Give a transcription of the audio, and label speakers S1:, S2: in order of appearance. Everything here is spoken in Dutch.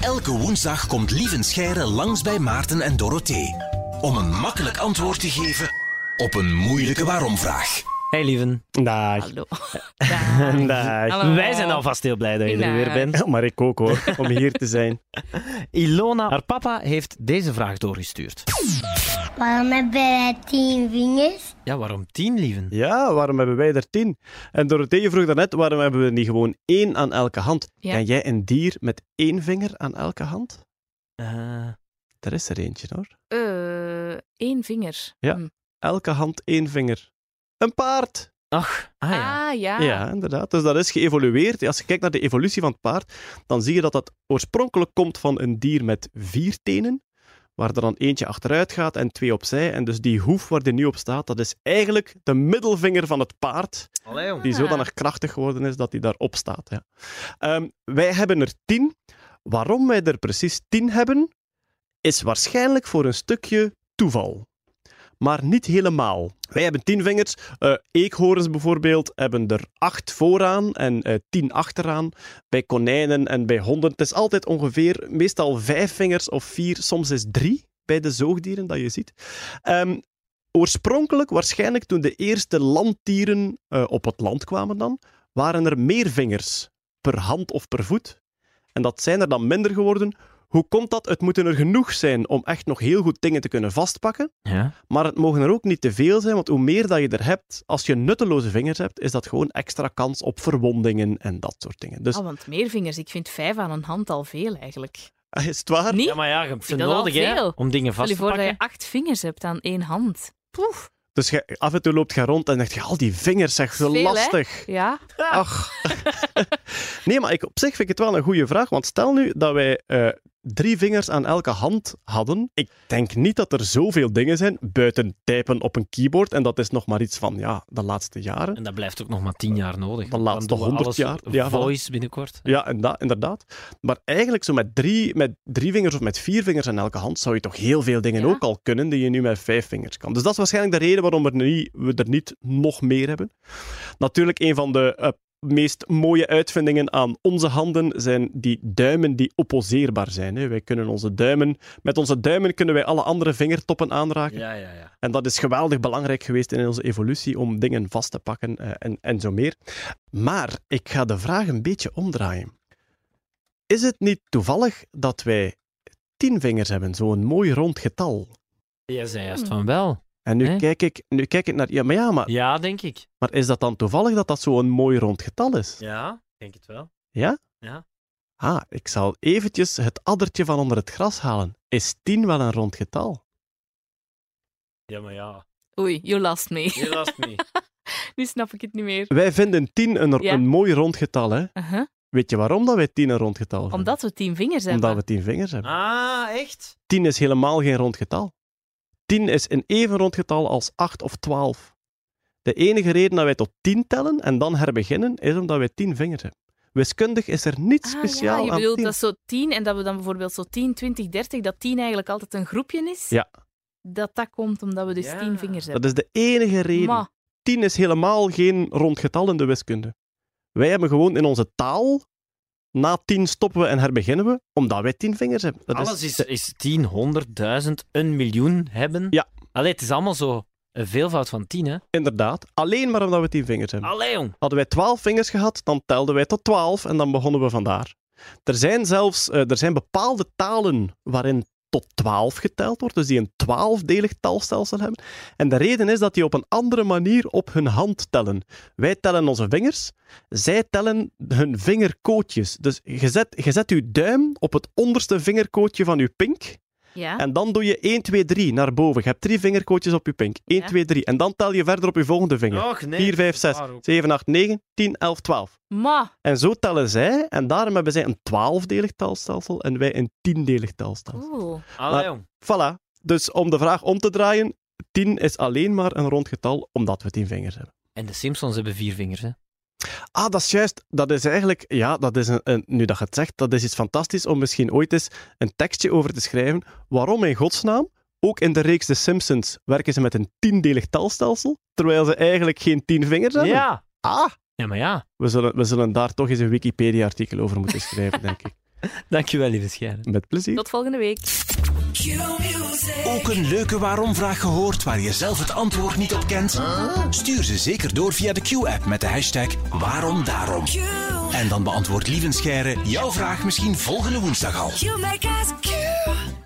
S1: Elke woensdag komt Lieven Scheire langs bij Maarten en Dorothee. Om een makkelijk antwoord te geven op een moeilijke waaromvraag.
S2: Hey lieven.
S3: Dag.
S4: Hallo.
S3: Dag.
S4: Hallo.
S2: Wij zijn alvast heel blij dat je er
S4: Dag.
S2: weer bent.
S3: Ja, maar ik ook hoor, om hier te zijn.
S2: Ilona, haar papa, heeft deze vraag doorgestuurd.
S5: Waarom hebben wij tien vingers?
S2: Ja, waarom tien, lieven?
S3: Ja, waarom hebben wij er tien? En Dorothee vroeg daarnet, waarom hebben we niet gewoon één aan elke hand?
S4: Ja.
S3: Ken jij een dier met één vinger aan elke hand?
S2: Eh,
S3: Er is er eentje hoor.
S4: Eh, één vinger.
S3: Ja.
S4: Hm.
S3: Elke hand één vinger. Een paard!
S2: ach, ah ja.
S4: Ah, ja.
S3: Ja, inderdaad. Dus dat is geëvolueerd. Als je kijkt naar de evolutie van het paard, dan zie je dat dat oorspronkelijk komt van een dier met vier tenen, waar er dan eentje achteruit gaat en twee opzij. En dus die hoef waar die nu op staat, dat is eigenlijk de middelvinger van het paard, die
S4: Ah.
S3: zodanig krachtig geworden is dat die daarop staat. Ja. Ehm, wij hebben er tien. Waarom wij er precies tien hebben, is waarschijnlijk voor een stukje toeval. Maar niet helemaal. Wij hebben tien vingers. Eh, eekhoorns bijvoorbeeld hebben er acht vooraan en eh, tien achteraan. Bij konijnen en bij honden. Het is altijd ongeveer meestal vijf vingers of vier. Soms is drie bij de zoogdieren dat je ziet. Ehm, oorspronkelijk, waarschijnlijk toen de eerste landdieren eh, op het land kwamen dan, waren er meer vingers per hand of per voet. En dat zijn er dan minder geworden. Hoe komt dat? Het moeten er genoeg zijn om echt nog heel goed dingen te kunnen vastpakken.
S2: Ja.
S3: Maar het mogen er ook niet te veel zijn, want hoe meer dat je er hebt, als je nutteloze vingers hebt, is dat gewoon extra kans op verwondingen en dat soort dingen. Dus
S4: Ah, want meer vingers. Ik vind vijf aan een hand al veel eigenlijk.
S3: eh, is het waar?
S4: Niet?
S2: Ja, maar ja, je hebt ze
S4: Ik vind dat
S2: nodig
S4: al
S2: hè,
S4: veel.
S2: om dingen
S4: Stel
S2: vast
S4: je
S2: te
S4: voor dat je
S2: pakken.
S4: acht vingers hebt aan één hand. Poef.
S3: Dus je, af en toe loopt je rond en dacht je, al die vingers, zeg, zo
S4: Veel, hè?
S3: lastig.
S4: Ja.
S3: Ach. nee, maar ik, op zich vind ik het wel een goede vraag, want stel nu dat wij eh, drie vingers aan elke hand hadden. Ik denk niet dat er zoveel dingen zijn buiten typen op een keyboard, en dat is nog maar iets van ja, de laatste jaren.
S2: En dat blijft ook nog maar tien jaar nodig.
S3: De laatste
S2: Dan doen we
S3: 100
S2: alles
S3: jaar. Ja, voilà.
S2: voice binnenkort.
S3: Ja, inda- inderdaad. Maar eigenlijk zo met drie, met drie vingers of met vier vingers aan elke hand zou je toch heel veel dingen
S4: Ja.
S3: ook al kunnen die je nu met vijf vingers kan. Dus dat is waarschijnlijk de reden waarom er niet, we er niet nog meer hebben. Natuurlijk, een van de eh, meest mooie uitvindingen aan onze handen zijn die duimen die opposeerbaar zijn. Hè. Wij kunnen onze duimen, met onze duimen kunnen wij alle andere vingertoppen aanraken.
S2: Ja, ja, ja.
S3: En dat is geweldig belangrijk geweest in onze evolutie om dingen vast te pakken eh, en, en zo meer. Maar ik ga de vraag een beetje omdraaien. Is het niet toevallig dat wij tien vingers hebben, zo'n mooi rond getal?
S2: Jij zei
S4: Hmm.
S2: juist van wel.
S3: En nu,
S2: Hè?
S3: kijk ik, nu kijk ik naar. Ja, maar ja, maar,
S2: Ja, denk ik.
S3: maar is dat dan toevallig dat dat zo'n mooi rond getal is?
S2: Ja, denk het wel.
S3: Ah, ik zal eventjes het addertje van onder het gras halen. Is tien wel een rond getal?
S2: Ja, maar ja.
S4: Oei, you last me.
S2: Je last me.
S4: Nu snap ik het niet meer.
S3: Wij vinden tien een,
S4: Ja.
S3: een mooi rond getal, hè?
S4: Uh-huh.
S3: Weet je waarom dat wij tien een rond getal vinden?
S4: Omdat we tien vingers hebben.
S3: Omdat we tien vingers hebben.
S2: Ah, echt?
S3: 10 is helemaal geen rond getal. 10 is een even rond getal als 8 of 12. De enige reden dat wij tot 10 tellen en dan herbeginnen, is omdat wij 10 vingers hebben. Wiskundig is er niets
S4: Ah,
S3: speciaal
S4: ja, je
S3: aan
S4: bedoelt
S3: 10.
S4: dat zo tien en dat we dan bijvoorbeeld zo 10, 20, 30, dat 10 eigenlijk altijd een groepje is.
S3: Ja.
S4: Dat dat komt omdat we dus
S2: Ja.
S4: 10 vingers
S3: Dat
S4: hebben.
S3: is de enige reden.
S4: Maar,
S3: 10 is helemaal geen rond getal in de wiskunde. Wij hebben gewoon in onze taal, na 10 stoppen we en herbeginnen we, omdat wij 10 vingers hebben. Dat is-
S2: Alles is... Er is tien, honderdduizend, een miljoen hebben.
S3: Ja.
S2: Allee, het is allemaal zo een veelvoud van tien, hè.
S3: inderdaad alleen maar omdat we 10 vingers hebben.
S2: Allee, jong.
S3: Hadden wij twaalf vingers gehad, dan telden wij tot twaalf en dan begonnen we vandaar. Er zijn zelfs eh, er zijn bepaalde talen waarin tot twaalf geteld wordt, dus die een twaalfdelig talstelsel hebben. En de reden is dat die op een andere manier op hun hand tellen. Wij tellen onze vingers, zij tellen hun vingerkootjes. Dus je zet, je zet je duim op het onderste vingerkootje van je pink
S4: ja.
S3: en dan doe je 1, 2, 3 naar boven. Je hebt drie vingerkootjes op je pink. 1,
S4: Ja.
S3: 2, 3. En dan tel je verder op je volgende vinger.
S2: Och, nee. Ah,
S3: 4, 5, 6,
S2: Waar ook.
S3: 7, 8, 9, 10, 11, 12.
S4: Maar,
S3: En zo tellen zij, en daarom hebben zij een twaalfdelig talstelsel en wij een tiendelig talstelsel.
S4: cool.
S2: Allee, jong.
S3: Voilà. Dus om de vraag om te draaien, 10 is alleen maar een rond getal omdat we 10 vingers hebben.
S2: En de Simpsons hebben vier vingers, hè.
S3: Ah, dat is juist. Dat is eigenlijk, ja, dat is een, een- nu dat je het zegt, dat is iets fantastisch om misschien ooit eens een tekstje over te schrijven. Waarom in godsnaam, ook in de reeks The Simpsons, werken ze met een tiendelig talstelsel, terwijl ze eigenlijk geen 10 vingers hebben?
S2: Ja.
S3: Ah,
S2: Ja, maar ja.
S3: We zullen, we zullen daar toch eens een Wikipedia-artikel over moeten schrijven, denk ik.
S2: Dankjewel, lieve Scheire.
S3: Met plezier.
S4: Tot volgende week.
S1: Ook een leuke waarom-vraag gehoord waar je zelf het antwoord niet op kent? Stuur ze zeker door via de Q-app met de hashtag waarom daarom. En dan beantwoordt Lieven Scheire jouw vraag misschien volgende woensdag al.
S6: You make us cute.